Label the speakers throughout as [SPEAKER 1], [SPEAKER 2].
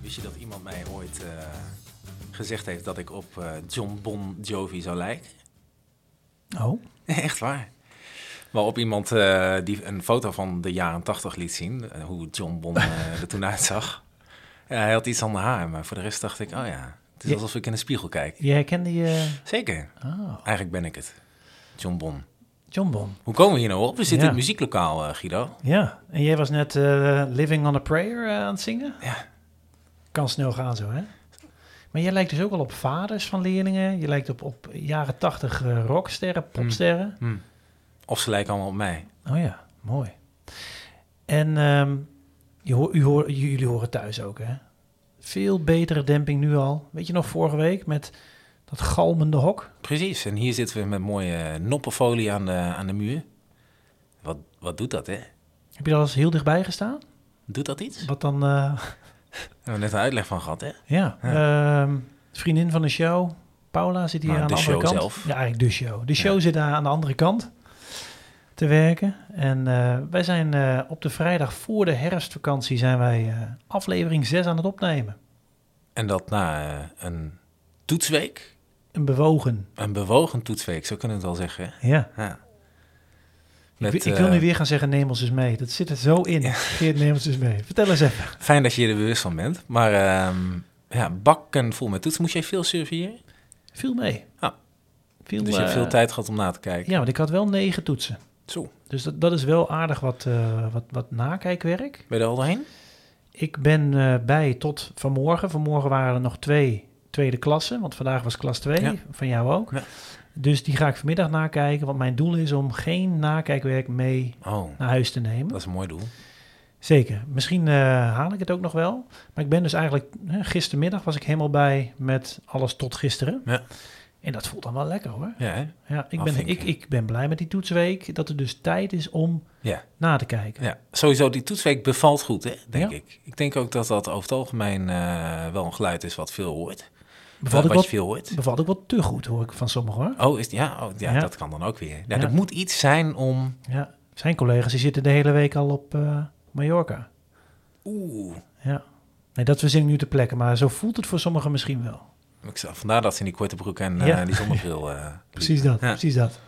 [SPEAKER 1] Wist je dat iemand mij ooit eh, gezegd heeft dat ik op eh, John Bon Jovi zou lijken?
[SPEAKER 2] Oh,
[SPEAKER 1] Echt waar. Waarop iemand eh, die een foto van de jaren tachtig liet zien, eh, hoe John Bon eh, er toen uitzag. Ja, hij had iets aan de haar, maar voor de rest dacht ik, oh ja, het is
[SPEAKER 2] Ja.
[SPEAKER 1] alsof ik in een spiegel kijk.
[SPEAKER 2] je herkende je...
[SPEAKER 1] Zeker,
[SPEAKER 2] Ah,
[SPEAKER 1] eigenlijk ben ik het. John Bon.
[SPEAKER 2] John Bon.
[SPEAKER 1] Hoe komen we hier nou op? We zitten in
[SPEAKER 2] Ja.
[SPEAKER 1] het muzieklokaal, eh, Guido.
[SPEAKER 2] Ja, en jij was net eh, Living on a Prayer eh, aan het zingen?
[SPEAKER 1] Ja.
[SPEAKER 2] Kan snel gaan zo, hè? Maar jij lijkt dus ook al op vaders van leerlingen. Je lijkt op, op jaren tachtig eh, rocksterren, popsterren.
[SPEAKER 1] Hm. Of ze lijken allemaal op mij.
[SPEAKER 2] Mm. Oh ja, mooi. En ehm, je hoor, u hoor, j- jullie horen thuis ook, hè? Veel betere demping nu al. Weet je nog vorige week met dat galmende hok?
[SPEAKER 1] Precies, en hier zitten we met mooie noppenfolie aan de, aan de muur. Wat, wat doet dat, hè?
[SPEAKER 2] Heb je daar al eens heel dichtbij gestaan?
[SPEAKER 1] Doet dat iets?
[SPEAKER 2] Wat dan... eh,
[SPEAKER 1] We hebben net een uitleg van gehad, hè?
[SPEAKER 2] Ja, ehm, vriendin van de show, Paula, zit hier
[SPEAKER 1] Nou,
[SPEAKER 2] aan de,
[SPEAKER 1] de
[SPEAKER 2] andere
[SPEAKER 1] show
[SPEAKER 2] kant.
[SPEAKER 1] zelf.
[SPEAKER 2] Ja, eigenlijk de show. De show zit daar aan de andere kant te werken. En eh, wij zijn eh, op de vrijdag voor de herfstvakantie zijn wij eh, aflevering 6 aan het opnemen.
[SPEAKER 1] En dat na eh, een toetsweek,
[SPEAKER 2] Een bewogen.
[SPEAKER 1] een bewogen toetsweek, zo kunnen we het wel zeggen. hè?
[SPEAKER 2] Ja.
[SPEAKER 1] Ja.
[SPEAKER 2] Ik
[SPEAKER 1] Met,
[SPEAKER 2] wi- ik wil nu
[SPEAKER 1] eh,
[SPEAKER 2] weer gaan zeggen, neem ons eens mee. Dat zit er zo in. Geert, neem ons eens mee. Vertel eens even.
[SPEAKER 1] Fijn dat je je er bewust van bent. Maar ehm, ja, bakken vol met toetsen. Moest jij veel surveilleren?
[SPEAKER 2] Viel mee.
[SPEAKER 1] Ja.
[SPEAKER 2] Viel,
[SPEAKER 1] Dus je hebt
[SPEAKER 2] eh,
[SPEAKER 1] veel tijd gehad om na te kijken.
[SPEAKER 2] Ja, want ik had wel negen toetsen.
[SPEAKER 1] Zo,
[SPEAKER 2] Dus dat, dat is wel aardig wat, eh, wat, wat nakijkwerk.
[SPEAKER 1] ben je er al doorheen?
[SPEAKER 2] Ik ben eh, bij tot vanmorgen. Vanmorgen waren er nog twee tweede klassen, want vandaag was klas 2,
[SPEAKER 1] Ja.
[SPEAKER 2] van jou ook.
[SPEAKER 1] Ja.
[SPEAKER 2] Dus die ga ik vanmiddag nakijken, want mijn doel is om geen nakijkwerk mee
[SPEAKER 1] Oh,
[SPEAKER 2] naar huis te nemen.
[SPEAKER 1] dat is een mooi doel.
[SPEAKER 2] Zeker, misschien eh, haal ik het ook nog wel. Maar ik ben dus eigenlijk, eh, gistermiddag was ik helemaal bij met alles tot gisteren.
[SPEAKER 1] Ja. Ah,
[SPEAKER 2] En dat voelt dan wel lekker hoor.
[SPEAKER 1] Ja, hè?
[SPEAKER 2] Ja, ik, ben, ik,
[SPEAKER 1] Afvinken.
[SPEAKER 2] ik ben blij met die toetsweek, dat er dus tijd is om
[SPEAKER 1] Ja.
[SPEAKER 2] na te kijken.
[SPEAKER 1] ja. Sowieso, die toetsweek bevalt goed, hè? denk
[SPEAKER 2] Ja.
[SPEAKER 1] ik. Ik denk ook dat dat over het algemeen eh, wel een geluid is wat veel hoort.
[SPEAKER 2] Bevalt ik,
[SPEAKER 1] wat
[SPEAKER 2] wat,
[SPEAKER 1] je veel hoort.
[SPEAKER 2] bevalt ik wat te goed hoor ik van sommigen hoor.
[SPEAKER 1] Oh, is, ja, oh ja,
[SPEAKER 2] Ja.
[SPEAKER 1] dat kan dan ook weer. Ja,
[SPEAKER 2] Ja.
[SPEAKER 1] Er moet iets zijn om...
[SPEAKER 2] Ja, zijn collega's die zitten de hele week al op eh, Mallorca.
[SPEAKER 1] Oeh,
[SPEAKER 2] Ja. Nee, dat verzin ik nu te plekken, maar zo voelt het voor sommigen misschien wel.
[SPEAKER 1] ik zag- vandaar dat ze in die korte broek en eh,
[SPEAKER 2] Ja.
[SPEAKER 1] die zonnebril... eh, liep.
[SPEAKER 2] Precies dat,
[SPEAKER 1] Ja.
[SPEAKER 2] precies dat.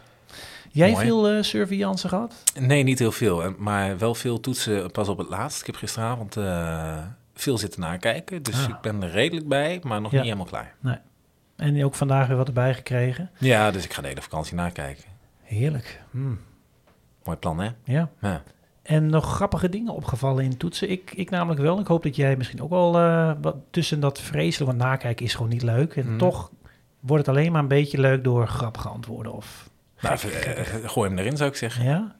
[SPEAKER 2] Jij
[SPEAKER 1] Mooi.
[SPEAKER 2] veel eh surveillance gehad?
[SPEAKER 1] Nee, niet heel veel, eh, maar wel veel toetsen pas op het laatst. Ik heb gisteravond eh, veel zitten nakijken, dus
[SPEAKER 2] Ah.
[SPEAKER 1] ik ben er redelijk bij, maar nog
[SPEAKER 2] Ja.
[SPEAKER 1] niet helemaal klaar.
[SPEAKER 2] En ook vandaag weer wat erbij gekregen.
[SPEAKER 1] Ja, dus ik ga de hele vakantie nakijken.
[SPEAKER 2] Heerlijk. Hmm,
[SPEAKER 1] Mooi plan, hè?
[SPEAKER 2] Ja.
[SPEAKER 1] Ja.
[SPEAKER 2] En nog grappige dingen opgevallen in toetsen. Ik, ik namelijk wel. Ik hoop dat jij misschien ook wel eh, wat tussen dat vreselijk, want nakijken is gewoon niet leuk. En
[SPEAKER 1] Mm.
[SPEAKER 2] toch wordt het alleen maar een beetje leuk door grappige antwoorden of
[SPEAKER 1] Nou, even, eh, gooi hem erin, zou ik zeggen.
[SPEAKER 2] Ja.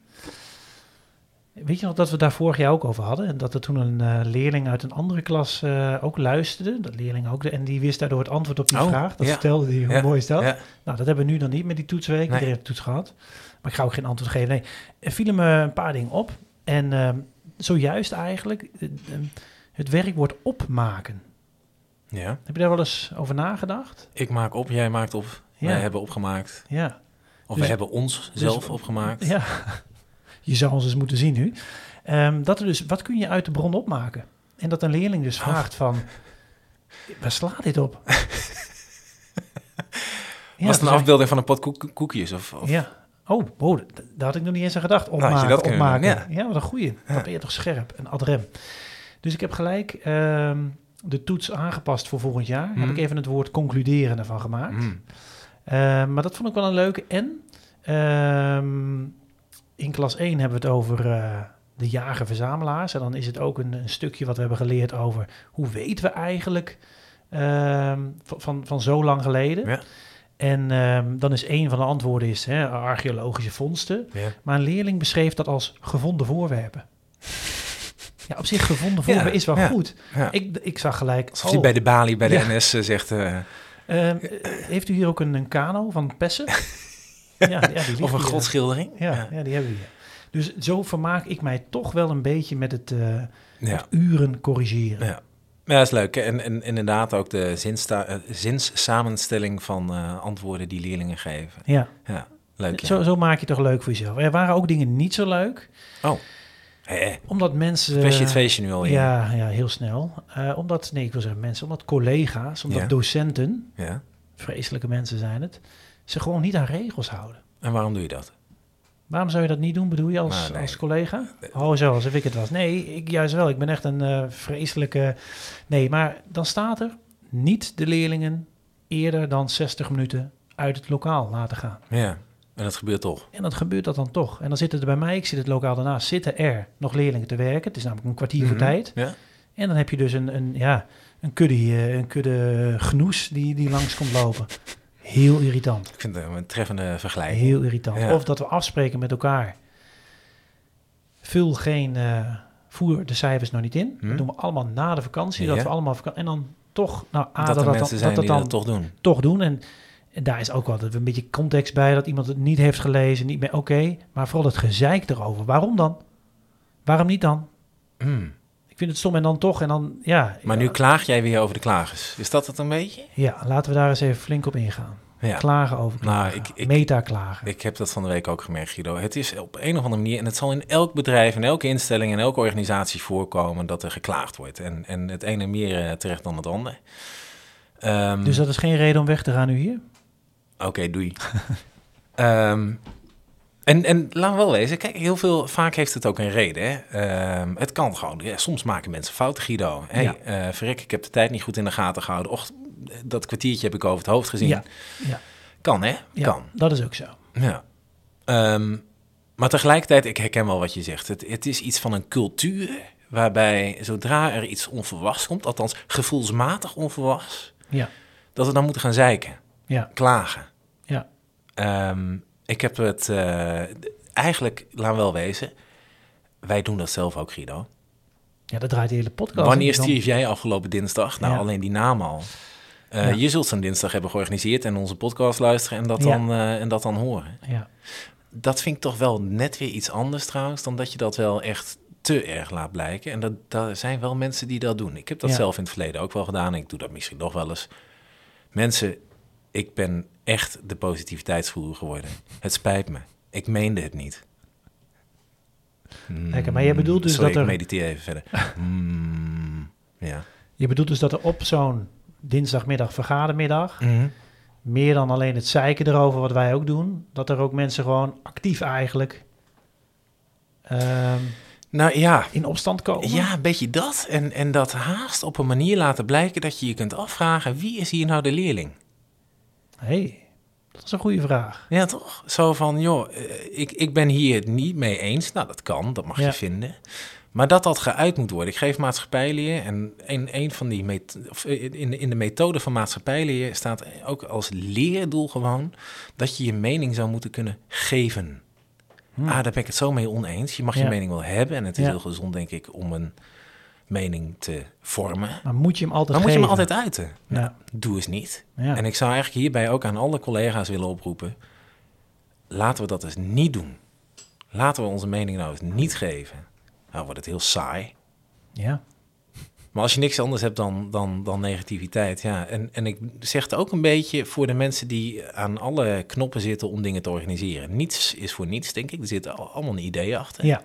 [SPEAKER 2] Weet je nog dat we daar vorig jaar ook over hadden? En dat er toen een eh, leerling uit een andere klas eh, ook luisterde. Dat leerling ook. de- en die wist daardoor het antwoord op die
[SPEAKER 1] Oh,
[SPEAKER 2] vraag. Dat
[SPEAKER 1] ja.
[SPEAKER 2] vertelde hij. Hoe
[SPEAKER 1] Ja,
[SPEAKER 2] mooi is dat?
[SPEAKER 1] ja.
[SPEAKER 2] Nou, dat hebben we nu dan niet met die toetsweek.
[SPEAKER 1] Nee.
[SPEAKER 2] Iedereen heeft toets gehad. Maar ik ga ook geen antwoord geven. Nee, er vielen me een paar dingen op. En ehm, zojuist eigenlijk eh, ehm, het werkwoord opmaken.
[SPEAKER 1] Ja.
[SPEAKER 2] Heb je daar wel eens over nagedacht?
[SPEAKER 1] Ik maak op, jij maakt op,
[SPEAKER 2] Ja.
[SPEAKER 1] wij hebben opgemaakt.
[SPEAKER 2] Ja.
[SPEAKER 1] Of
[SPEAKER 2] Dus-
[SPEAKER 1] we hebben ons zelf opgemaakt.
[SPEAKER 2] Ja, je zou ons eens moeten zien nu. Ehm, dat er dus, wat kun je uit de bron opmaken? En dat een leerling dus
[SPEAKER 1] Oh.
[SPEAKER 2] vraagt van, waar slaat dit op? Ja,
[SPEAKER 1] Was het
[SPEAKER 2] toen
[SPEAKER 1] een
[SPEAKER 2] zei ik-
[SPEAKER 1] afbeelding van een pot koek- koekjes? Of, of...
[SPEAKER 2] Ja. Oh, wow, d- daar had ik nog niet eens aan gedacht.
[SPEAKER 1] Nou, je
[SPEAKER 2] Opmaken,
[SPEAKER 1] dat kunnen
[SPEAKER 2] opmaken.
[SPEAKER 1] doen,
[SPEAKER 2] ja. wat een goeie. Dat ben je toch scherp, een adrem. Dus ik heb gelijk ehm, de toets aangepast voor volgend jaar. Heb
[SPEAKER 1] Mhm.
[SPEAKER 2] ik even het woord concluderen ervan gemaakt.
[SPEAKER 1] Mm.
[SPEAKER 2] Eh, maar dat vond ik wel een leuke. En ehm, in klas 1 hebben we het over eh, de jager-verzamelaars. En dan is het ook een, een stukje wat we hebben geleerd over hoe weten we eigenlijk ehm, van, van, van zo lang geleden.
[SPEAKER 1] Ja.
[SPEAKER 2] En ehm, dan is één van de antwoorden is, hè, archeologische vondsten.
[SPEAKER 1] Ja.
[SPEAKER 2] Maar een leerling beschreef dat als gevonden voorwerpen. Ja, op zich gevonden vormen
[SPEAKER 1] Ja,
[SPEAKER 2] is wel
[SPEAKER 1] ja,
[SPEAKER 2] goed.
[SPEAKER 1] ja.
[SPEAKER 2] Ik, ik zag gelijk...
[SPEAKER 1] Als die
[SPEAKER 2] oh,
[SPEAKER 1] bij de balie bij de
[SPEAKER 2] Ja.
[SPEAKER 1] NS zegt... eh,
[SPEAKER 2] ehm, eh, heeft u hier ook een, een kano van Pessen? ja, ja, die ligt
[SPEAKER 1] of een
[SPEAKER 2] hier.
[SPEAKER 1] godschildering.
[SPEAKER 2] Ja, ja, die hebben we hier. Dus zo vermaak ik mij toch wel een beetje met het eh,
[SPEAKER 1] ja.
[SPEAKER 2] uren corrigeren.
[SPEAKER 1] Ja. Ja, dat is leuk. En, en inderdaad ook de zinsta- eh, zinssamenstelling van eh, antwoorden die leerlingen geven.
[SPEAKER 2] Ja,
[SPEAKER 1] Ja, leuk. Ja.
[SPEAKER 2] Zo, zo maak je het toch leuk voor jezelf. Er waren ook dingen niet zo leuk,
[SPEAKER 1] Oh, hey,
[SPEAKER 2] omdat mensen...
[SPEAKER 1] je het feestje nu al in. Ja.
[SPEAKER 2] ja, ja, heel snel. Eh, omdat, nee, ik wil zeggen mensen, omdat collega's, omdat
[SPEAKER 1] Ja.
[SPEAKER 2] docenten, vreselijke mensen zijn het, ze gewoon niet aan regels houden.
[SPEAKER 1] En waarom doe je dat?
[SPEAKER 2] Waarom zou je dat niet doen, bedoel je, als,
[SPEAKER 1] Nou, nee.
[SPEAKER 2] als collega? Oh, zo, alsof ik het was. Nee, ik juist wel. Ik ben echt een eh, vreselijke... Nee, maar dan staat er niet de leerlingen eerder dan 60 minuten uit het lokaal laten gaan.
[SPEAKER 1] Ja, en dat gebeurt toch.
[SPEAKER 2] En dan gebeurt dat dan toch. En dan zitten er bij mij, ik zit het lokaal daarnaast, zitten er nog leerlingen te werken. Het is namelijk een kwartier voor
[SPEAKER 1] Mhm.
[SPEAKER 2] tijd.
[SPEAKER 1] Ja.
[SPEAKER 2] En dan heb je dus een, een, ja, een, kudde, eh, een kudde genoes die, die langs komt lopen. Heel irritant.
[SPEAKER 1] Ik vind het een treffende vergelijking.
[SPEAKER 2] Heel irritant.
[SPEAKER 1] Ja.
[SPEAKER 2] Of dat we afspreken met elkaar. Vul geen, eh, voer de cijfers nog niet in.
[SPEAKER 1] Hm.
[SPEAKER 2] Dat doen we allemaal na de vakantie. Dat
[SPEAKER 1] Ja.
[SPEAKER 2] we allemaal vakantie. En dan toch, nou, A,
[SPEAKER 1] dat er
[SPEAKER 2] dat, dat,
[SPEAKER 1] mensen
[SPEAKER 2] dan,
[SPEAKER 1] zijn
[SPEAKER 2] dat, dat
[SPEAKER 1] die
[SPEAKER 2] dan
[SPEAKER 1] dat toch doen.
[SPEAKER 2] toch doen. En, en daar is ook wel dat we een beetje context bij, dat iemand het niet heeft gelezen, niet meer oké. maar vooral het gezeik erover. Waarom dan? Waarom niet dan?
[SPEAKER 1] Hmm.
[SPEAKER 2] Ik vind het stom en dan toch. En dan, ja.
[SPEAKER 1] Maar nu klaag jij weer over de klagers. Is dat het een beetje?
[SPEAKER 2] Ja, laten we daar eens even flink op ingaan.
[SPEAKER 1] Ja.
[SPEAKER 2] Klagen over
[SPEAKER 1] Nou,
[SPEAKER 2] klagen.
[SPEAKER 1] ik- ik-
[SPEAKER 2] Meta-klagen.
[SPEAKER 1] Ik heb dat van de week ook gemerkt, Guido. Het is op een of andere manier, en het zal in elk bedrijf, in elke instelling, in elke organisatie voorkomen dat er geklaagd wordt. En, en het ene meer eh, terecht dan het ander. Ehm,
[SPEAKER 2] Dus dat is geen reden om weg te gaan nu hier?
[SPEAKER 1] Oké, doei. Ehm, en, en laat me wel wezen, kijk, heel veel, vaak heeft het ook een reden. Hè? Ehm, het kan gewoon. Ja, soms maken mensen fouten, Guido. Hey,
[SPEAKER 2] Ja.
[SPEAKER 1] eh, verrek, ik heb de tijd niet goed in de gaten gehouden. Och, dat kwartiertje heb ik over het hoofd gezien.
[SPEAKER 2] Ja, ja,
[SPEAKER 1] Kan, hè?
[SPEAKER 2] ja,
[SPEAKER 1] Kan.
[SPEAKER 2] dat is ook zo.
[SPEAKER 1] Ja. Ehm, maar tegelijkertijd, ik herken wel wat je zegt. Het, het is iets van een cultuur waarbij zodra er iets onverwachts komt, althans gevoelsmatig onverwachts,
[SPEAKER 2] Ja,
[SPEAKER 1] dat we dan moeten gaan zeiken,
[SPEAKER 2] ja,
[SPEAKER 1] klagen.
[SPEAKER 2] ja.
[SPEAKER 1] Ehm, ik heb het eh, d- eigenlijk, laat wel wezen, wij doen dat zelf ook, Guido.
[SPEAKER 2] Ja, dat draait de hele podcast. om.
[SPEAKER 1] Wanneer
[SPEAKER 2] Dan-
[SPEAKER 1] stierf jij afgelopen dinsdag? Nou,
[SPEAKER 2] Ja.
[SPEAKER 1] alleen die naam al. Eh,
[SPEAKER 2] Ja.
[SPEAKER 1] Je zult zo'n dinsdag hebben georganiseerd en onze podcast luisteren en dat,
[SPEAKER 2] Ja.
[SPEAKER 1] dan, eh, en dat dan horen.
[SPEAKER 2] Ja,
[SPEAKER 1] dat vind ik toch wel net weer iets anders trouwens, dan dat je dat wel echt te erg laat blijken. En dat, daar zijn wel mensen die dat doen. Ik heb dat
[SPEAKER 2] Ja.
[SPEAKER 1] zelf in het verleden ook wel gedaan. en Ik doe dat misschien nog wel eens. Mensen, ik ben echt de positiviteitsvoer geworden. Het spijt me. Ik meende het niet. Mm,
[SPEAKER 2] Lekker, maar jij bedoelt dus
[SPEAKER 1] sorry,
[SPEAKER 2] dat er-
[SPEAKER 1] ik mediteer even verder. Mm, ja.
[SPEAKER 2] je bedoelt dus dat er op zo'n dinsdagmiddag, vergadermiddag,
[SPEAKER 1] Mhm.
[SPEAKER 2] meer dan alleen het zeiken erover, wat wij ook doen, dat er ook mensen gewoon actief eigenlijk ehm,
[SPEAKER 1] Nou ja,
[SPEAKER 2] in opstand komen.
[SPEAKER 1] Ja, een beetje dat. En, en dat haast op een manier laten blijken dat je je kunt afvragen... wie is hier nou de leerling?
[SPEAKER 2] hey, dat is een goede vraag.
[SPEAKER 1] Ja, toch? Zo van, joh, eh, ik, ik ben hier het niet mee eens. Nou, dat kan, dat mag
[SPEAKER 2] Ja.
[SPEAKER 1] je vinden. Maar dat dat geuit moet worden. Ik geef maatschappijleer en een, een van die met, of eh, in, in de methode van maatschappijleer staat ook als leerdoel gewoon dat je je mening zou moeten kunnen geven.
[SPEAKER 2] Hmm.
[SPEAKER 1] Ah, daar ben ik het zo mee oneens. Je mag
[SPEAKER 2] Ja.
[SPEAKER 1] je mening wel hebben en het is
[SPEAKER 2] Ja.
[SPEAKER 1] heel gezond, denk ik, om een mening te vormen.
[SPEAKER 2] Maar moet je hem altijd
[SPEAKER 1] Dan moet je me
[SPEAKER 2] geven?
[SPEAKER 1] altijd uiten.
[SPEAKER 2] Ja,
[SPEAKER 1] Doe eens niet.
[SPEAKER 2] ja.
[SPEAKER 1] En ik zou eigenlijk hierbij ook aan alle collega's willen oproepen: laten we dat eens niet doen. Laten we onze mening nou eens niet geven. Nou wordt het heel saai.
[SPEAKER 2] ja.
[SPEAKER 1] Maar als je niks anders hebt dan, dan, dan negativiteit, ja. En, en ik zeg het ook een beetje voor de mensen die aan alle knoppen zitten om dingen te organiseren. Niets is voor niets, denk ik. Er zitten al- allemaal een idee achter.
[SPEAKER 2] ja.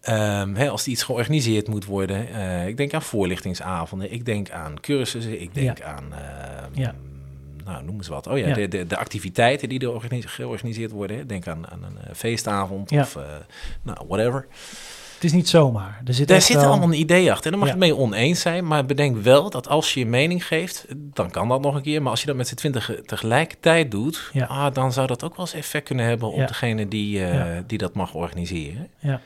[SPEAKER 1] Ehm, hè, als iets georganiseerd moet worden. eh, ik denk aan voorlichtingsavonden, ik denk aan cursussen, ik denk aan. ehm,
[SPEAKER 2] Ja.
[SPEAKER 1] Nou, noem eens wat. Oh ja,
[SPEAKER 2] Ja.
[SPEAKER 1] De, de, de activiteiten die er organise- georganiseerd worden. hè. Denk aan, aan een eh, feestavond
[SPEAKER 2] Ja.
[SPEAKER 1] of eh, nou, whatever.
[SPEAKER 2] Het is niet zomaar. Er zit
[SPEAKER 1] Daar
[SPEAKER 2] echt
[SPEAKER 1] zit
[SPEAKER 2] wel-
[SPEAKER 1] allemaal een idee achter. En dan mag
[SPEAKER 2] Ja.
[SPEAKER 1] je het mee oneens zijn. Maar bedenk wel dat als je je mening geeft, dan kan dat nog een keer. Maar als je dat met z'n twintig tegelijkertijd doet,
[SPEAKER 2] Ja.
[SPEAKER 1] ah, dan zou dat ook wel eens effect kunnen hebben op
[SPEAKER 2] Ja.
[SPEAKER 1] degene die, eh,
[SPEAKER 2] Ja.
[SPEAKER 1] die dat mag organiseren.
[SPEAKER 2] Ja,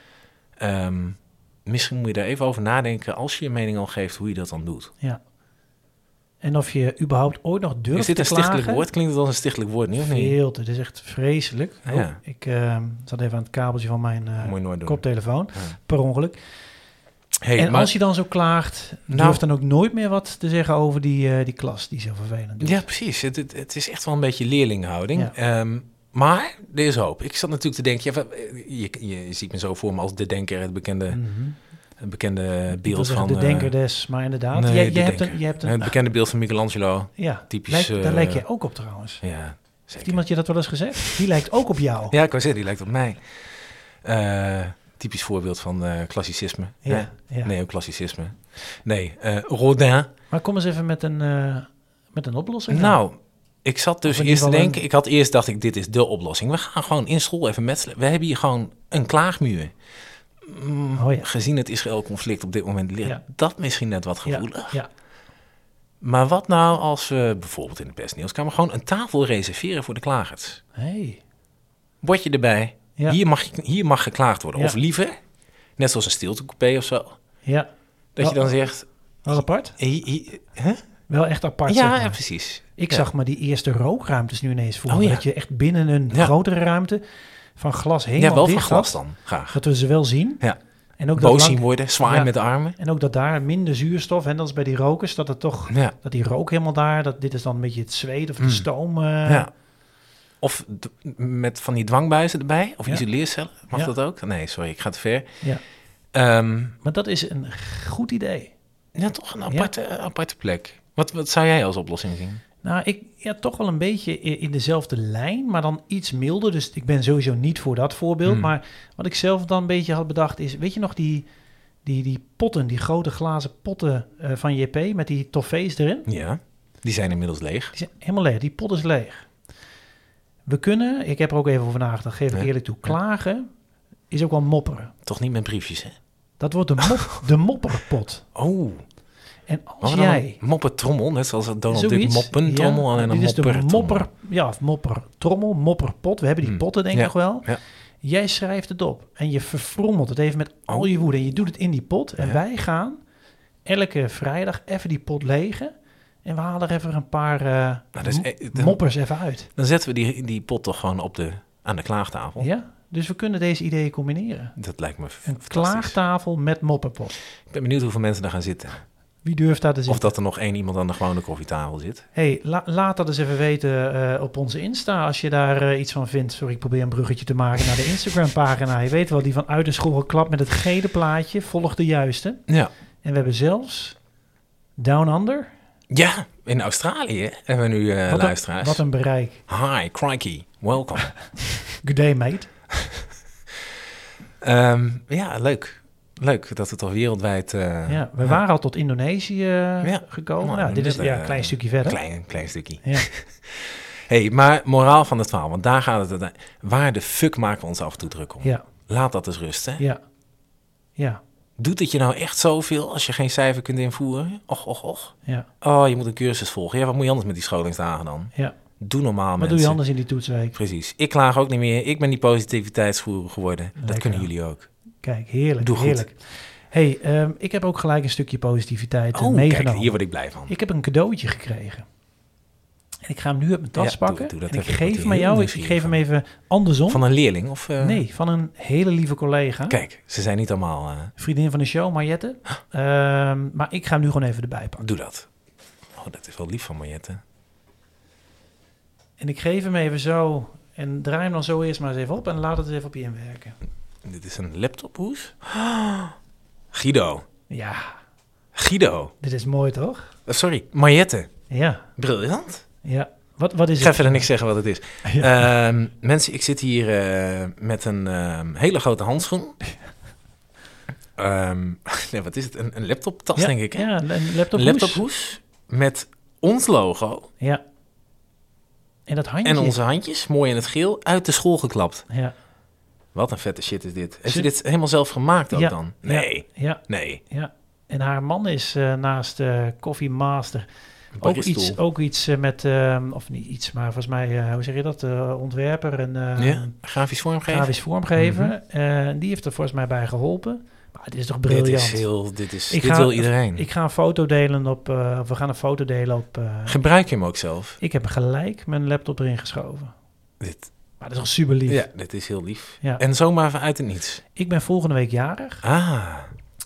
[SPEAKER 1] Ehm, misschien moet je daar even over nadenken als je je mening al geeft hoe je dat dan doet.
[SPEAKER 2] ja. En of je überhaupt ooit nog durft
[SPEAKER 1] Is dit
[SPEAKER 2] te
[SPEAKER 1] een stichtelijk
[SPEAKER 2] klagen?
[SPEAKER 1] woord? Klinkt het als een stichtelijk woord nu of niet?
[SPEAKER 2] Veel te. Dit is echt vreselijk.
[SPEAKER 1] Ja.
[SPEAKER 2] Oh, ik ehm, zat even aan het kabeltje van mijn eh,
[SPEAKER 1] Moet je nooit doen.
[SPEAKER 2] koptelefoon.
[SPEAKER 1] Ja.
[SPEAKER 2] Per ongeluk.
[SPEAKER 1] Hey,
[SPEAKER 2] en
[SPEAKER 1] maar-
[SPEAKER 2] als je dan zo klaagt,
[SPEAKER 1] Nou-
[SPEAKER 2] durf dan ook nooit meer wat te zeggen over die, eh, die klas die zo vervelend doet.
[SPEAKER 1] Ja, precies. Het, het, het is echt wel een beetje leerlinghouding.
[SPEAKER 2] Ja.
[SPEAKER 1] Ehm, maar er is hoop. Ik zat natuurlijk te denken, ja, wat- je, je, je ziet me zo voor me als de denker, het bekende,
[SPEAKER 2] Mhm.
[SPEAKER 1] het bekende
[SPEAKER 2] Ik wil
[SPEAKER 1] beeld
[SPEAKER 2] zeggen,
[SPEAKER 1] van...
[SPEAKER 2] de
[SPEAKER 1] eh,
[SPEAKER 2] denker des, maar inderdaad.
[SPEAKER 1] nee,
[SPEAKER 2] Jij-
[SPEAKER 1] de
[SPEAKER 2] je, hebt
[SPEAKER 1] denker.
[SPEAKER 2] een, je hebt een... nou,
[SPEAKER 1] het bekende beeld van Michelangelo.
[SPEAKER 2] ja,
[SPEAKER 1] typisch,
[SPEAKER 2] lijkt- daar
[SPEAKER 1] eh,
[SPEAKER 2] lijk jij ook op trouwens.
[SPEAKER 1] Ja,
[SPEAKER 2] Heeft
[SPEAKER 1] zeker.
[SPEAKER 2] iemand je dat wel eens gezegd? Die lijkt ook op jou.
[SPEAKER 1] Ja, ik wou zeggen, die lijkt op mij. Eh, typisch voorbeeld van eh, klassicisme.
[SPEAKER 2] Ja,
[SPEAKER 1] hè?
[SPEAKER 2] ja.
[SPEAKER 1] Neoclassicisme. Nee, eh, Rodin.
[SPEAKER 2] Maar kom eens even met een, eh, met een oplossing. dan.
[SPEAKER 1] Nou, ik zat dus
[SPEAKER 2] Of in
[SPEAKER 1] eerst te
[SPEAKER 2] ieder geval
[SPEAKER 1] denken, ik had eerst dacht ik, dit is de oplossing. We gaan gewoon in school even metselen. We hebben hier gewoon een klaagmuur. Mm,
[SPEAKER 2] Oh ja.
[SPEAKER 1] Gezien het Israël-conflict op dit moment ligt
[SPEAKER 2] Ja.
[SPEAKER 1] dat misschien net wat gevoelig.
[SPEAKER 2] ja, ja.
[SPEAKER 1] Maar wat nou als we bijvoorbeeld in de personeelskamer gewoon een tafel reserveren voor de klagers?
[SPEAKER 2] Hey.
[SPEAKER 1] Word je erbij?
[SPEAKER 2] Ja.
[SPEAKER 1] Hier, mag, je- hier mag geklaagd worden.
[SPEAKER 2] Ja.
[SPEAKER 1] Of liever, net zoals een stiltecoupé of zo,
[SPEAKER 2] ja,
[SPEAKER 1] dat je
[SPEAKER 2] Oh.
[SPEAKER 1] dan zegt...
[SPEAKER 2] wel apart.
[SPEAKER 1] hi- hi- hè?
[SPEAKER 2] Wel echt apart. zeg nou?
[SPEAKER 1] Ja,
[SPEAKER 2] maar.
[SPEAKER 1] ja, precies.
[SPEAKER 2] Ik
[SPEAKER 1] Ja.
[SPEAKER 2] zag maar die eerste rookruimtes nu ineens voor.
[SPEAKER 1] Oh
[SPEAKER 2] me,
[SPEAKER 1] ja.
[SPEAKER 2] Dat je echt binnen een
[SPEAKER 1] Ja.
[SPEAKER 2] grotere ruimte van glas helemaal
[SPEAKER 1] Ja, wel van
[SPEAKER 2] dicht
[SPEAKER 1] glas
[SPEAKER 2] had,
[SPEAKER 1] dan, graag.
[SPEAKER 2] Dat we ze wel zien.
[SPEAKER 1] Ja.
[SPEAKER 2] En ook dat
[SPEAKER 1] Boos
[SPEAKER 2] lang-
[SPEAKER 1] zien worden, zwaaien
[SPEAKER 2] Ja.
[SPEAKER 1] met de armen.
[SPEAKER 2] En ook dat daar minder zuurstof, en dat is bij die rokers, dat het toch,
[SPEAKER 1] Ja.
[SPEAKER 2] dat die rook helemaal daar, dat dit is dan een beetje het zweet of de
[SPEAKER 1] Mm.
[SPEAKER 2] stoom. eh,
[SPEAKER 1] Ja. Of d- met van die dwangbuizen erbij, of
[SPEAKER 2] Ja.
[SPEAKER 1] isoleercellen. Mag
[SPEAKER 2] Ja.
[SPEAKER 1] dat ook? Nee, sorry, ik ga te ver.
[SPEAKER 2] Ja.
[SPEAKER 1] Ehm,
[SPEAKER 2] Maar dat is een goed idee.
[SPEAKER 1] ja, toch een aparte, eh, aparte plek. Wat, wat zou jij als oplossing zien?
[SPEAKER 2] Nou, ik ja, toch wel een beetje i- in dezelfde lijn, maar dan iets milder. Dus ik ben sowieso niet voor dat voorbeeld.
[SPEAKER 1] Hmm.
[SPEAKER 2] Maar wat ik zelf dan een beetje had bedacht is, weet je nog die, die, die potten, die grote glazen potten eh, van JP met die toffees erin?
[SPEAKER 1] Ja, die zijn inmiddels leeg.
[SPEAKER 2] Die zijn helemaal leeg, die pot is leeg. We kunnen, ik heb er ook even over nagedacht, geef ik
[SPEAKER 1] Ja.
[SPEAKER 2] eerlijk toe, klagen is ook wel mopperen.
[SPEAKER 1] Toch niet met briefjes, hè?
[SPEAKER 2] Dat wordt de, mop, de mopperpot.
[SPEAKER 1] Oh,
[SPEAKER 2] En als
[SPEAKER 1] wat dan
[SPEAKER 2] jij...
[SPEAKER 1] een moppertrommel, net zoals dat Donald Duck
[SPEAKER 2] Zoiets,
[SPEAKER 1] moppentrommel,
[SPEAKER 2] ja.
[SPEAKER 1] alleen een
[SPEAKER 2] Dit is de
[SPEAKER 1] moppertrommel.
[SPEAKER 2] mopper, ja, of moppertrommel, mopperpot. We hebben die
[SPEAKER 1] Hmm.
[SPEAKER 2] potten denk ik
[SPEAKER 1] Ja,
[SPEAKER 2] nog wel.
[SPEAKER 1] ja.
[SPEAKER 2] Jij schrijft het op en je verfrommelt het even met al je woede. En je doet het in die pot. En
[SPEAKER 1] Oh. Ja.
[SPEAKER 2] wij gaan elke vrijdag even die pot legen. En we halen er even een paar eh,
[SPEAKER 1] Nou, dat is
[SPEAKER 2] mo-
[SPEAKER 1] e- dat-
[SPEAKER 2] moppers even uit.
[SPEAKER 1] Dan zetten we die, die pot toch gewoon op de, aan de klaagtafel.
[SPEAKER 2] Ja? Dus we kunnen deze ideeën combineren.
[SPEAKER 1] Dat lijkt me
[SPEAKER 2] Een
[SPEAKER 1] fantastisch.
[SPEAKER 2] klaagtafel met mopperpot.
[SPEAKER 1] Ik ben benieuwd hoeveel mensen daar gaan zitten.
[SPEAKER 2] Wie durft daar dus te
[SPEAKER 1] Of
[SPEAKER 2] zitten?
[SPEAKER 1] dat er nog één iemand aan de gewone koffietafel zit.
[SPEAKER 2] hey, la- laat dat eens even weten eh, op onze Insta als je daar eh, iets van vindt. Sorry, ik probeer een bruggetje te maken naar de Instagram-pagina. Je weet wel, die van Uit de School geklapt met het gele plaatje. Volg de juiste.
[SPEAKER 1] Ja.
[SPEAKER 2] En we hebben zelfs Down Under.
[SPEAKER 1] Ja, in Australië hebben we nu eh,
[SPEAKER 2] wat, een,
[SPEAKER 1] luisteraars.
[SPEAKER 2] wat een bereik.
[SPEAKER 1] Hi, crikey, welkom.
[SPEAKER 2] Good day, mate.
[SPEAKER 1] Ehm, ja, leuk. Leuk dat het al wereldwijd... eh,
[SPEAKER 2] ja, we waren al tot Indonesië eh,
[SPEAKER 1] Ja.
[SPEAKER 2] gekomen.
[SPEAKER 1] Nou,
[SPEAKER 2] nou, dit is
[SPEAKER 1] net,
[SPEAKER 2] ja,
[SPEAKER 1] eh,
[SPEAKER 2] een klein stukje verder.
[SPEAKER 1] Klein, klein stukje.
[SPEAKER 2] Ja.
[SPEAKER 1] hey, maar moraal van het verhaal, want daar gaat het... uite- Waar de fuck maken we ons af en toe druk om?
[SPEAKER 2] Ja,
[SPEAKER 1] Laat dat eens rusten.
[SPEAKER 2] ja, ja,
[SPEAKER 1] Doet het je nou echt zoveel als je geen cijfer kunt invoeren? Och, och, och.
[SPEAKER 2] ja,
[SPEAKER 1] Oh, je moet een cursus volgen. Ja, wat moet je anders met die scholingsdagen dan?
[SPEAKER 2] ja.
[SPEAKER 1] Doe normaal,
[SPEAKER 2] Wat
[SPEAKER 1] mensen.
[SPEAKER 2] doe je anders in die toetsweek?
[SPEAKER 1] Precies. Ik klaag ook niet meer. Ik ben die positiviteitsvoer geworden. Dat
[SPEAKER 2] Lekker.
[SPEAKER 1] kunnen jullie ook.
[SPEAKER 2] Kijk, heerlijk,
[SPEAKER 1] Doe goed.
[SPEAKER 2] heerlijk. hey, ehm, ik heb ook gelijk een stukje positiviteit eh,
[SPEAKER 1] Oh,
[SPEAKER 2] meegenomen.
[SPEAKER 1] kijk, hier word ik blij van.
[SPEAKER 2] Ik heb een cadeautje gekregen. En ik ga hem nu uit mijn tas
[SPEAKER 1] Ja, doe-
[SPEAKER 2] pakken.
[SPEAKER 1] doe dat
[SPEAKER 2] en ik
[SPEAKER 1] even. Ik
[SPEAKER 2] geef
[SPEAKER 1] word hier
[SPEAKER 2] hem aan
[SPEAKER 1] heel
[SPEAKER 2] jou. Ik, ik
[SPEAKER 1] nieuwsgierig
[SPEAKER 2] geef hem even andersom.
[SPEAKER 1] Van een leerling? Of, eh,
[SPEAKER 2] nee, van een hele lieve collega.
[SPEAKER 1] Kijk, ze zijn niet allemaal... eh,
[SPEAKER 2] Vriendin van de show, Mariette. Ehm, maar ik ga hem nu gewoon even erbij pakken.
[SPEAKER 1] doe dat. Oh, dat is wel lief van Mariette.
[SPEAKER 2] En ik geef hem even zo. En draai hem dan zo eerst maar eens even op. En laat het eens even op je inwerken.
[SPEAKER 1] Dit is een laptophoes. Ah, Guido.
[SPEAKER 2] Ja,
[SPEAKER 1] Guido.
[SPEAKER 2] dit is mooi toch?
[SPEAKER 1] Eh, sorry, Mariette.
[SPEAKER 2] Ja,
[SPEAKER 1] Briljant.
[SPEAKER 2] ja. Wat, wat is
[SPEAKER 1] Ik ga
[SPEAKER 2] het?
[SPEAKER 1] verder niks zeggen wat het is.
[SPEAKER 2] Ja.
[SPEAKER 1] Ehm, mensen, ik zit hier eh, met een ehm, hele grote handschoen. Ehm, nee, wat is het? Een, een laptoptas,
[SPEAKER 2] ja,
[SPEAKER 1] denk ik. Hè?
[SPEAKER 2] Ja, een laptop.
[SPEAKER 1] Een laptophoes met ons logo
[SPEAKER 2] Ja. En dat handje.
[SPEAKER 1] en onze handjes, mooi in het geel, uit de school geklapt.
[SPEAKER 2] Ja,
[SPEAKER 1] Wat een vette shit is dit. Heeft
[SPEAKER 2] Zit-
[SPEAKER 1] je dit helemaal zelf gemaakt ook
[SPEAKER 2] Ja,
[SPEAKER 1] dan? Nee,
[SPEAKER 2] ja,
[SPEAKER 1] nee.
[SPEAKER 2] ja. En haar man is eh, naast eh Coffee Master ook
[SPEAKER 1] Barista.
[SPEAKER 2] iets, ook iets eh, met, ehm, of niet iets, maar volgens mij, eh, hoe zeg je dat, eh, ontwerper en eh,
[SPEAKER 1] ja, grafisch vormgeven.
[SPEAKER 2] grafisch vormgever. Eh, die heeft er volgens mij bij geholpen. Maar het is toch briljant.
[SPEAKER 1] Dit is heel, dit is,
[SPEAKER 2] Ik
[SPEAKER 1] dit
[SPEAKER 2] ga-
[SPEAKER 1] wil iedereen.
[SPEAKER 2] Ik ga een foto delen op, eh, of we gaan een foto delen op, eh,
[SPEAKER 1] Gebruik je hem ook zelf?
[SPEAKER 2] ik heb gelijk mijn laptop erin geschoven.
[SPEAKER 1] Dit,
[SPEAKER 2] Maar dat is toch super lief.
[SPEAKER 1] ja, dit is heel lief.
[SPEAKER 2] Ja.
[SPEAKER 1] En zomaar vanuit het niets.
[SPEAKER 2] Ik ben volgende week jarig.
[SPEAKER 1] Ah,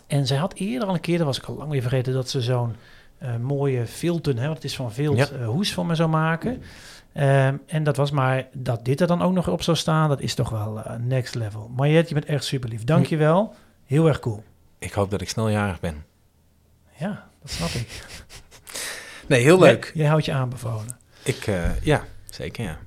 [SPEAKER 2] En zij had eerder al een keer, dat was ik al lang weer vergeten, dat ze zo'n eh, mooie vilten, hè, want het is van vilt,
[SPEAKER 1] Ja.
[SPEAKER 2] eh, hoes van me zou maken. Ehm, en dat was maar dat dit er dan ook nog op zou staan, dat is toch wel eh, next level. Mariette, je bent echt super lief.
[SPEAKER 1] Hm.
[SPEAKER 2] Dank je wel. Heel erg cool.
[SPEAKER 1] Ik hoop dat ik snel jarig ben.
[SPEAKER 2] Ja, dat snap ik.
[SPEAKER 1] Nee, heel leuk.
[SPEAKER 2] Jij, jij houdt je aanbevolen.
[SPEAKER 1] Ik, eh, ja, zeker ja.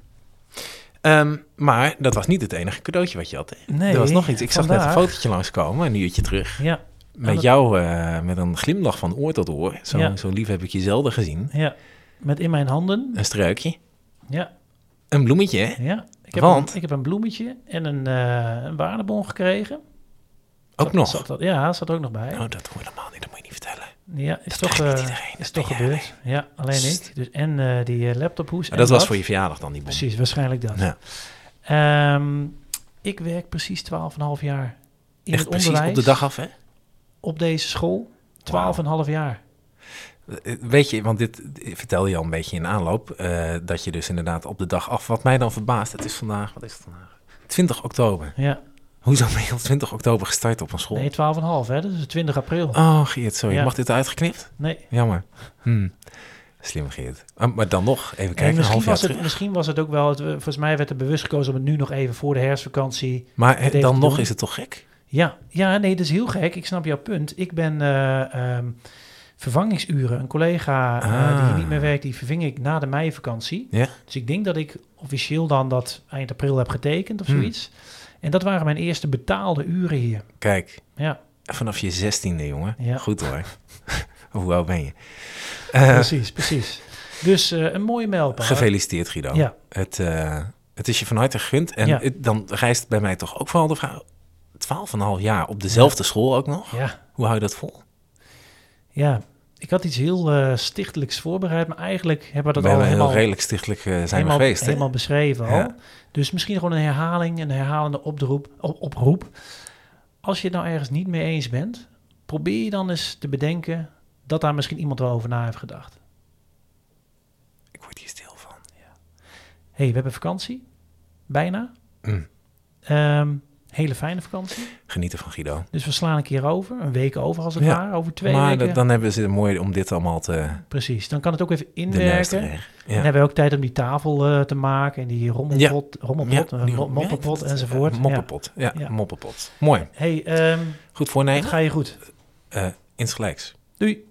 [SPEAKER 1] Ehm, maar dat was niet het enige cadeautje wat je had. hè?
[SPEAKER 2] Nee,
[SPEAKER 1] er was nog iets. Ik zag net
[SPEAKER 2] vandaag-
[SPEAKER 1] een fotootje langskomen, een uurtje terug.
[SPEAKER 2] Ja,
[SPEAKER 1] Met
[SPEAKER 2] dat-
[SPEAKER 1] jou, eh, met een glimlach van oor tot oor. Zo,
[SPEAKER 2] Ja.
[SPEAKER 1] zo lief heb ik je zelden gezien.
[SPEAKER 2] ja. Met in mijn handen.
[SPEAKER 1] Een struikje,
[SPEAKER 2] Ja,
[SPEAKER 1] een bloemetje. hè?
[SPEAKER 2] ja. Ik heb,
[SPEAKER 1] Want?
[SPEAKER 2] een, ik heb een bloemetje en een, eh, een waardebon gekregen.
[SPEAKER 1] Ook
[SPEAKER 2] Zat-
[SPEAKER 1] nog.
[SPEAKER 2] zat dat- ja, zat ook nog bij.
[SPEAKER 1] Oh, dat hoort allemaal niet, dat moet je niet vertellen.
[SPEAKER 2] Ja, is
[SPEAKER 1] Dat
[SPEAKER 2] toch,
[SPEAKER 1] krijgt
[SPEAKER 2] eh,
[SPEAKER 1] niet iedereen,
[SPEAKER 2] is
[SPEAKER 1] dat
[SPEAKER 2] toch
[SPEAKER 1] ben jij
[SPEAKER 2] gebeurd. Ja, alleen
[SPEAKER 1] Sst.
[SPEAKER 2] ik. Dus en eh, die eh, laptophoes.
[SPEAKER 1] Maar
[SPEAKER 2] en
[SPEAKER 1] dat was voor je verjaardag dan, die bom.
[SPEAKER 2] Precies, waarschijnlijk dat.
[SPEAKER 1] Ja.
[SPEAKER 2] Ehm, ik werk precies 12,5 jaar in
[SPEAKER 1] Echt
[SPEAKER 2] het
[SPEAKER 1] precies
[SPEAKER 2] onderwijs.
[SPEAKER 1] op de dag af, hè?
[SPEAKER 2] Op deze school. 12,5 jaar.
[SPEAKER 1] Eh, Weet je, want dit eh, vertel je al een beetje in aanloop, eh, dat je dus inderdaad op de dag af... Wat mij dan verbaast, het is vandaag, wat is het vandaag? 20 oktober.
[SPEAKER 2] Ja.
[SPEAKER 1] Hoezo ben je op 20 oktober gestart op een school?
[SPEAKER 2] Nee, 12,5 hè. Dat is 20 april.
[SPEAKER 1] Oh, Geert, sorry.
[SPEAKER 2] Ja.
[SPEAKER 1] Mag dit uitgeknipt?
[SPEAKER 2] Nee.
[SPEAKER 1] Jammer. Hm. Slim, Geert. Ah, maar dan nog, even
[SPEAKER 2] En
[SPEAKER 1] kijken, een
[SPEAKER 2] misschien,
[SPEAKER 1] half jaar
[SPEAKER 2] was
[SPEAKER 1] terug.
[SPEAKER 2] het, misschien was het ook wel, het, volgens mij werd er bewust gekozen om het nu nog even voor de herfstvakantie.
[SPEAKER 1] Maar eh,
[SPEAKER 2] even
[SPEAKER 1] dan
[SPEAKER 2] te
[SPEAKER 1] nog
[SPEAKER 2] doen.
[SPEAKER 1] is het toch gek?
[SPEAKER 2] Ja, ja nee, dat is heel gek. Ik snap jouw punt. Ik ben eh, ehm, vervangingsuren. Een collega eh, die hier
[SPEAKER 1] Ah.
[SPEAKER 2] niet meer werkt, die verving ik na de meivakantie.
[SPEAKER 1] Ja.
[SPEAKER 2] Dus ik denk dat ik officieel dan dat eind april heb getekend of
[SPEAKER 1] Hmm.
[SPEAKER 2] zoiets. En dat waren mijn eerste betaalde uren hier.
[SPEAKER 1] Kijk,
[SPEAKER 2] Ja,
[SPEAKER 1] vanaf je zestiende, jongen.
[SPEAKER 2] Ja.
[SPEAKER 1] Goed hoor. Hoe oud ben je? Eh,
[SPEAKER 2] precies, precies. Dus eh, een mooie mijlpaal.
[SPEAKER 1] gefeliciteerd, Guido.
[SPEAKER 2] Ja,
[SPEAKER 1] Het, eh, het is je van harte gegund. En
[SPEAKER 2] Ja.
[SPEAKER 1] het- dan rijst bij mij toch ook vooral de vraag... Twaalf en een half jaar op dezelfde school ook nog.
[SPEAKER 2] ja,
[SPEAKER 1] Hoe hou je dat vol?
[SPEAKER 2] ja. Ik had iets heel eh, stichtelijks voorbereid, maar eigenlijk hebben we
[SPEAKER 1] We
[SPEAKER 2] dat al
[SPEAKER 1] hebben heel
[SPEAKER 2] helemaal...
[SPEAKER 1] redelijk stichtelijk eh, zijn we
[SPEAKER 2] helemaal,
[SPEAKER 1] geweest. hè?
[SPEAKER 2] helemaal beschreven al.
[SPEAKER 1] Ja.
[SPEAKER 2] Dus misschien gewoon een herhaling, een herhalende oproep, op, oproep. Als je het nou ergens niet mee eens bent, probeer je dan eens te bedenken dat daar misschien iemand wel over na heeft gedacht.
[SPEAKER 1] Ik word hier stil van.
[SPEAKER 2] Hé, hey, we hebben vakantie. Bijna.
[SPEAKER 1] Mm.
[SPEAKER 2] Ehm, hele fijne vakantie.
[SPEAKER 1] Genieten van Guido.
[SPEAKER 2] Dus we slaan een keer over. Een week over als het
[SPEAKER 1] Ja.
[SPEAKER 2] ware. Over twee
[SPEAKER 1] maar dat-
[SPEAKER 2] weken.
[SPEAKER 1] dan hebben ze het mooi om dit allemaal te
[SPEAKER 2] Precies. Dan kan het ook even
[SPEAKER 1] de neus te
[SPEAKER 2] inwerken.
[SPEAKER 1] krijgen.
[SPEAKER 2] En
[SPEAKER 1] Ja.
[SPEAKER 2] hebben we ook tijd om die tafel eh, te maken. En die rommelpot, rommelpot
[SPEAKER 1] Ja,
[SPEAKER 2] eh,
[SPEAKER 1] die-
[SPEAKER 2] mo-
[SPEAKER 1] ja,
[SPEAKER 2] moppenpot
[SPEAKER 1] dat-
[SPEAKER 2] enzovoort.
[SPEAKER 1] eh,
[SPEAKER 2] Ja.
[SPEAKER 1] Moppenpot, ja,
[SPEAKER 2] Ja.
[SPEAKER 1] moppenpot. Mooi.
[SPEAKER 2] hey, ehm,
[SPEAKER 1] Goed
[SPEAKER 2] het
[SPEAKER 1] voornemen.
[SPEAKER 2] ga je goed.
[SPEAKER 1] Eh insgelijks.
[SPEAKER 2] Doei.